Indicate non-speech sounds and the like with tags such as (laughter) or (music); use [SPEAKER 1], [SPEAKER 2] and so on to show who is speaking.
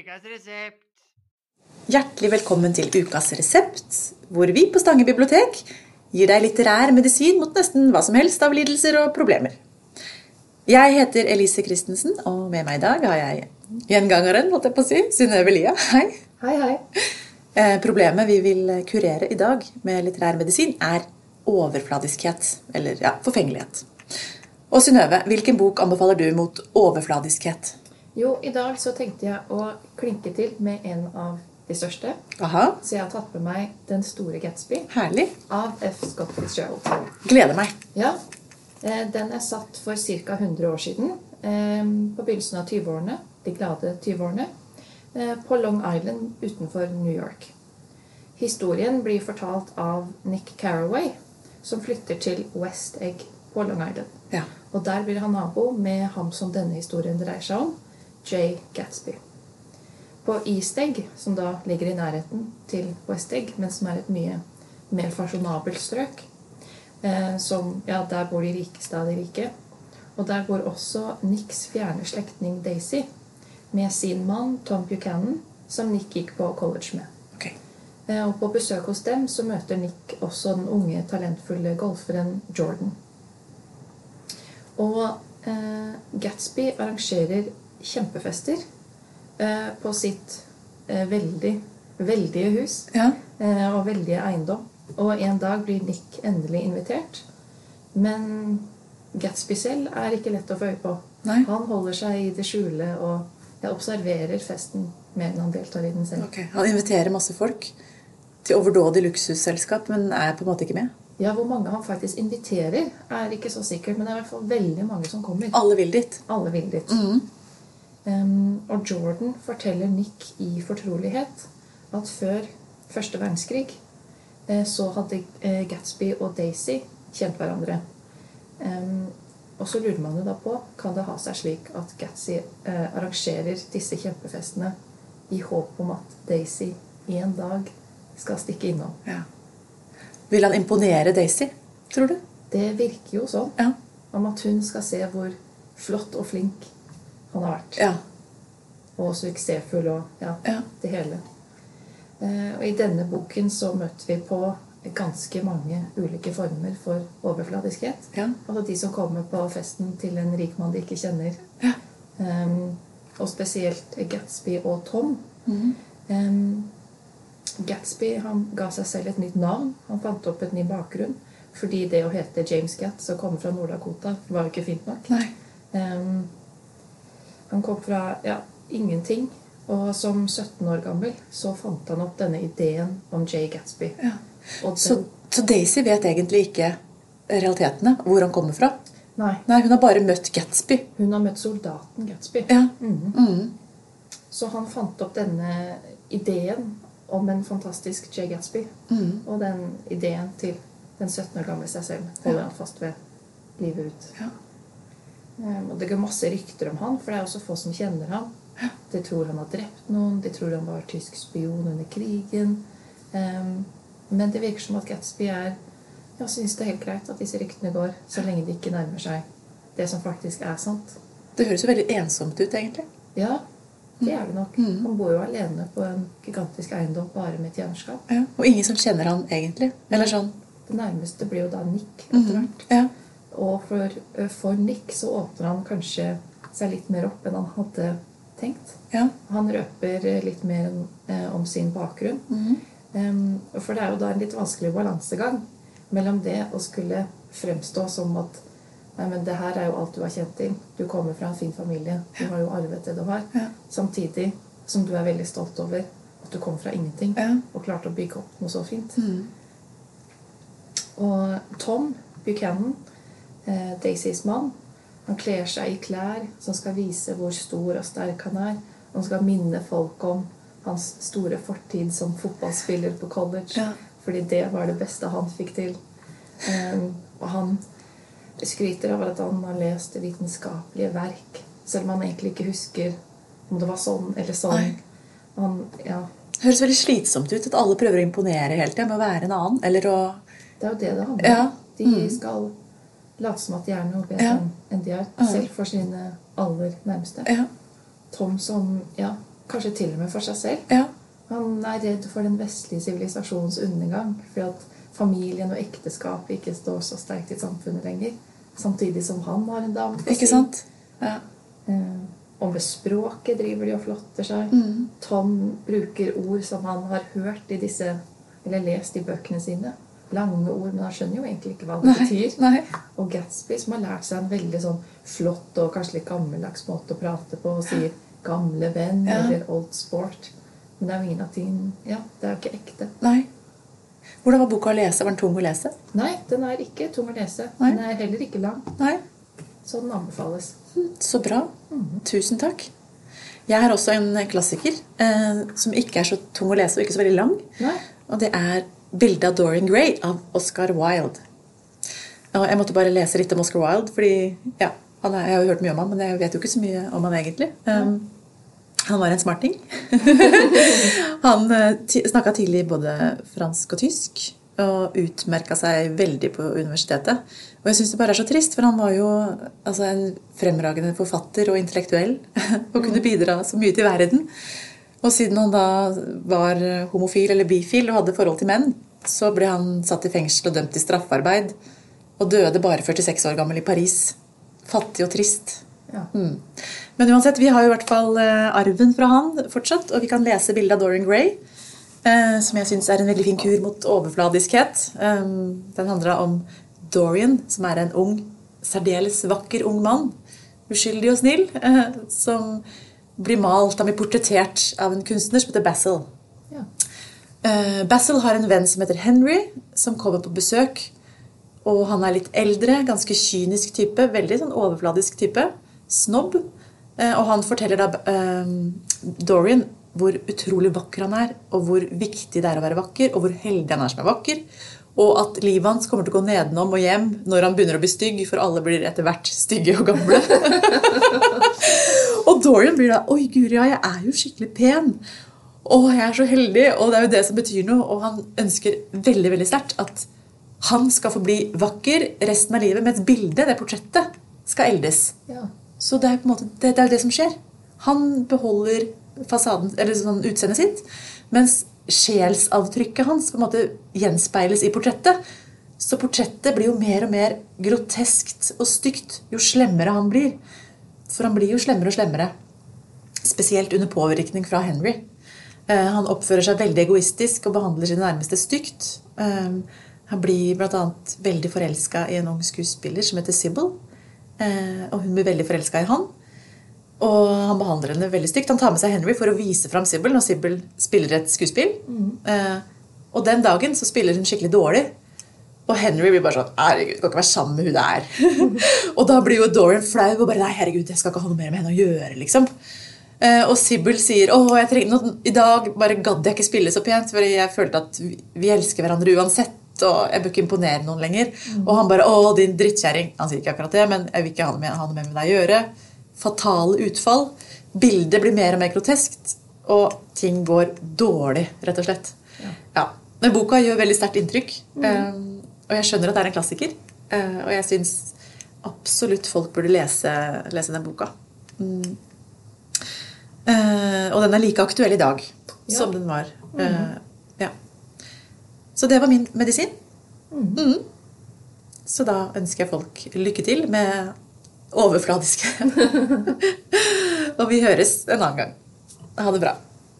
[SPEAKER 1] Ukas resept.
[SPEAKER 2] Hjertelig velkommen til ukas resept, hvor vi på Stange bibliotek gir deg litterær medisin mot nesten hva som helst av lidelser og problemer. Jeg heter Elise Christensen, og med meg i dag har jeg gjengangeren, holdt jeg på å si, Synnøve Lia. Hei.
[SPEAKER 3] Hei, hei.
[SPEAKER 2] Eh, Problemet vi vil kurere i dag med litterær medisin, er overfladiskhet, eller ja, forfengelighet. Og Synnøve, hvilken bok anbefaler du mot overfladiskhet?
[SPEAKER 3] Jo, i dag så tenkte jeg å klinke til med en av de største.
[SPEAKER 2] Aha,
[SPEAKER 3] Så jeg har tatt med meg Den store Gatsby
[SPEAKER 2] herlig.
[SPEAKER 3] av F. Scott Fitzgerald.
[SPEAKER 2] Gleder meg.
[SPEAKER 3] Ja, eh, den er satt for ca. 100 år siden. eh, På begynnelsen av 20-årene. De glade 20-årene. eh, På Long Island utenfor New York. Historien blir fortalt av Nick Carraway, som flytter til West Egg på Long Island.
[SPEAKER 2] Ja.
[SPEAKER 3] Og der blir han nabo med ham som denne historien dreier seg om, Jay Gatsby. På East Egg, som da ligger i nærheten til West Egg, men som er et mye mer fasjonabelt strøk, eh, som, ja, der bor de rikeste av de rike. Og der bor også Nicks fjerne slektning Daisy med sin mann Tom Buchanan, som Nick gikk på college med.
[SPEAKER 2] Ok.
[SPEAKER 3] Eh, Og på besøk hos dem så møter Nick også den unge, talentfulle golferen Jordan. Og eh, Gatsby arrangerer kjempefester eh, på sitt eh, veldig, veldige hus
[SPEAKER 2] Ja.
[SPEAKER 3] eh, og veldige eiendom. Og en dag blir Nick endelig invitert. Men Gatsby selv er ikke lett å få øye på.
[SPEAKER 2] Nei.
[SPEAKER 3] Han holder seg i det skjule og jeg observerer festen mer enn han deltar i den selv.
[SPEAKER 2] Ok, Han inviterer masse folk til overdådig luksusselskap, men er på en måte ikke med.
[SPEAKER 3] Ja, Hvor mange han faktisk inviterer, er ikke så sikkert, men det er i hvert fall veldig mange som kommer.
[SPEAKER 2] Alle vil dit.
[SPEAKER 3] Alle vil dit. Um, og Jordan forteller Nick i fortrolighet at før første verdenskrig eh, så hadde eh, Gatsby og Daisy kjent hverandre. Um, og så lurer man jo da på kan det ha seg slik at Gatsby eh, arrangerer disse kjempefestene i håp om at Daisy en dag skal stikke innom.
[SPEAKER 2] Ja. Vil han imponere Daisy, tror du?
[SPEAKER 3] Det virker jo sånn.
[SPEAKER 2] Ja.
[SPEAKER 3] Om at hun skal se hvor flott og flink han har vært.
[SPEAKER 2] Ja.
[SPEAKER 3] Og suksessfull og ja,
[SPEAKER 2] Ja.
[SPEAKER 3] det hele. Eh, Og i denne boken så møter vi på ganske mange ulike former for overfladiskhet.
[SPEAKER 2] Ja.
[SPEAKER 3] Altså de som kommer på festen til en rik mann de ikke kjenner.
[SPEAKER 2] Ja.
[SPEAKER 3] Ehm, og spesielt Gatsby og Tom.
[SPEAKER 2] Mhm.
[SPEAKER 3] Ehm, Gatsby han ga seg selv et nytt navn. Han fant opp et ny bakgrunn. Fordi det å hete James Gatz og komme fra Nord-Dakota var jo ikke fint nok.
[SPEAKER 2] Nei.
[SPEAKER 3] Ehm, han kom fra ja, ingenting. Og som 17 år gammel så fant han opp denne ideen om Jay Gatsby.
[SPEAKER 2] Ja.
[SPEAKER 3] Og den,
[SPEAKER 2] Så, så Daisy vet egentlig ikke realitetene, hvor han kommer fra.
[SPEAKER 3] Nei,
[SPEAKER 2] Nei, Hun har bare møtt Gatsby.
[SPEAKER 3] hun har møtt soldaten Gatsby.
[SPEAKER 2] Ja.
[SPEAKER 3] Mhm.
[SPEAKER 2] Mhm.
[SPEAKER 3] Så han fant opp denne ideen om en fantastisk Jay Gatsby.
[SPEAKER 2] Mhm.
[SPEAKER 3] Og den ideen til den 17 år gamle seg selv holder han fast ved livet ut.
[SPEAKER 2] Ja.
[SPEAKER 3] Um, Og det går masse rykter om han, for det er også få som kjenner ham. De tror han har drept noen, de tror han var tysk spion under krigen. Um, men det virker som at Gatsby er ja, syns det er helt greit at disse ryktene går, så lenge de ikke nærmer seg det som faktisk er sant.
[SPEAKER 2] Det høres jo veldig ensomt ut, egentlig.
[SPEAKER 3] Ja, det er det nok. Han bor jo alene på en gigantisk eiendom bare med tjenerskap.
[SPEAKER 2] Ja. Og ingen som kjenner han egentlig. Eller sånn.
[SPEAKER 3] Det nærmeste blir jo da Nick etter hvert.
[SPEAKER 2] Ja.
[SPEAKER 3] Og for, eh, for Nick så åpner han kanskje seg litt mer opp enn han hadde tenkt.
[SPEAKER 2] Ja.
[SPEAKER 3] Han røper eh, litt mer eh, om sin bakgrunn.
[SPEAKER 2] Mhm.
[SPEAKER 3] Em, og for det er jo da en litt vanskelig balansegang mellom det å skulle fremstå som at Nei, men det her er jo alt du har kjent til. Du kommer fra en fin familie. Du har jo arvet det du har.
[SPEAKER 2] Ja.
[SPEAKER 3] Samtidig som du er veldig stolt over at du kom fra ingenting
[SPEAKER 2] Ja. Mhm.
[SPEAKER 3] og klarte å bygge opp noe så fint. Og Tom Buchanan, eh, Daisys mann, han kler seg i klær som skal vise hvor stor og sterk han er. Han skal minne folk om hans store fortid som fotballspiller på college.
[SPEAKER 2] Ja.
[SPEAKER 3] Fordi det var det beste han fikk til. Um, og han skryter av at han har lest vitenskapelige verk, selv om han egentlig ikke husker om det var sånn eller sånn.
[SPEAKER 2] Nei.
[SPEAKER 3] Han, ja,
[SPEAKER 2] Det høres veldig slitsomt ut at alle prøver å imponere hele tida med å være en annen. Eller å
[SPEAKER 3] Det er jo det det handler om.
[SPEAKER 2] Ja. Mm.
[SPEAKER 3] De skal late som at de er noe bedre
[SPEAKER 2] Ja.
[SPEAKER 3] enn- enn de er, selv for sine aller nærmeste.
[SPEAKER 2] Ja.
[SPEAKER 3] Tom som ja, Kanskje til og med for seg selv.
[SPEAKER 2] Ja.
[SPEAKER 3] Han er redd for den vestlige sivilisasjonens undergang. Fordi at familien og ekteskapet ikke står så sterkt i samfunnet lenger. Samtidig som han har en dame. på
[SPEAKER 2] Ikke
[SPEAKER 3] si.
[SPEAKER 2] sant? Ja.
[SPEAKER 3] Eh, og med språket driver de og flotter seg.
[SPEAKER 2] Mhm.
[SPEAKER 3] Tom bruker ord som han har hørt i disse, eller lest i bøkene sine. Lange ord, men han skjønner jo egentlig ikke hva det betyr.
[SPEAKER 2] Nei.
[SPEAKER 3] Og Gatsby, som har lært seg en veldig sånn flott og kanskje litt gammeldags måte å prate på, og sier 'gamle venn'
[SPEAKER 2] Ja.
[SPEAKER 3] eller 'old sport'. Men det er jo ingen av ting Ja, det er jo ikke ekte.
[SPEAKER 2] Nei. Hvordan var boka å lese? Var den tung å lese?
[SPEAKER 3] Nei, den er ikke tung å lese.
[SPEAKER 2] Nei.
[SPEAKER 3] Den er heller ikke lang,
[SPEAKER 2] Nei.
[SPEAKER 3] så den anbefales.
[SPEAKER 2] Hm, Så bra.
[SPEAKER 3] Mhm.
[SPEAKER 2] Tusen takk. Jeg har også en klassiker eh, som ikke er så tung å lese og ikke så veldig lang.
[SPEAKER 3] Nei.
[SPEAKER 2] Og det er 'Bildet av Dorian Gray' av Oscar Wilde. Og jeg måtte bare lese litt om Oscar Wilde, fordi ja, han er, jeg har jo hørt mye om han, men jeg vet jo ikke så mye om han egentlig. Um, han var en smarting. han snakka tidlig både fransk og tysk. Og utmerka seg veldig på universitetet. Og jeg syns det bare er så trist, for han var jo altså, en fremragende forfatter og intellektuell. (laughs) og kunne bidra så mye til verden. Og siden han da var homofil eller bifil og hadde forhold til menn, så ble han satt i fengsel og dømt til straffarbeid. Og døde bare 46 år gammel i Paris. Fattig og trist.
[SPEAKER 3] Ja.
[SPEAKER 2] Mm. Men uansett, vi har jo i hvert fall eh, arven fra han fortsatt, og vi kan lese bildet av Dorian Gray, eh, som jeg syns er en veldig fin kur mot overfladiskhet. Um, den handla om Dorian, som er en ung, særdeles vakker ung mann, uskyldig og snill, eh, som blir malt, han blir portrettert av en kunstner som heter Basil.
[SPEAKER 3] Ja.
[SPEAKER 2] Eh, Basil har en venn som heter Henry, som kommer på besøk. Og han er litt eldre, ganske kynisk type, veldig sånn overfladisk type. Snobb. Eh, og han forteller da eh, Dorian hvor utrolig vakker han er, og hvor viktig det er å være vakker, og hvor heldig han er som er vakker. Og at livet hans kommer til å gå nedenom og hjem når han begynner å bli stygg, for alle blir etter hvert stygge og gamle. Og Dorian blir da Oi, guri, ja, jeg er jo skikkelig pen. Å, jeg er så heldig, og det er jo det som betyr noe. Og han ønsker veldig veldig sterkt at han skal få bli vakker resten av livet, mens bildet, det portrettet, skal eldes.
[SPEAKER 3] ja.
[SPEAKER 2] Så det er jo på en måte, det, det er jo det som skjer. Han beholder fasaden, eller sånn utseendet sitt, mens sjelsavtrykket hans på en måte gjenspeiles i portrettet. Så portrettet blir jo mer og mer groteskt og stygt jo slemmere han blir. For han blir jo slemmere og slemmere. Spesielt under påvirkning fra Henry. Eh, Han oppfører seg veldig egoistisk og behandler sine nærmeste stygt. Eh, Han blir bl.a. veldig forelska i en ung skuespiller som heter Sybil. Eh, Og hun blir veldig forelska i han. Og han behandler henne veldig stygt. Han tar med seg Henry for å vise fram Sybil når Sybil spiller et skuespill. Eh, Og den dagen så spiller hun skikkelig dårlig. Og Henry blir bare sånn Herregud, du kan ikke være sammen med hun der. (laughs) og da blir jo Dorian flau og bare Nei, herregud, jeg skal ikke ha noe mer med henne å gjøre, liksom. Eh, og Sybil sier åh, jeg trenger noe, i dag bare gadd jeg ikke spille så pent, fordi jeg følte at vi, vi elsker hverandre uansett, og jeg bør ikke imponere noen lenger. Og han bare åh, din drittkjerring. Han sier ikke akkurat det, men jeg vil ikke ha noe med, ha noe mer med deg å gjøre. Fatale utfall. Bildet blir mer og mer groteskt, og ting går dårlig, rett og slett. Ja. Men boka gjør veldig sterkt inntrykk, eh, og jeg skjønner at det er en klassiker. eh, og jeg syns absolutt folk burde lese, lese den boka. Mm. Eh, og den er like aktuell i dag
[SPEAKER 3] Ja.
[SPEAKER 2] som den var. eh, ja. Så det var min medisin. Mhm. Så da ønsker jeg folk lykke til med (laughs) overfladiske. og vi høres en annen gang. Ha det bra.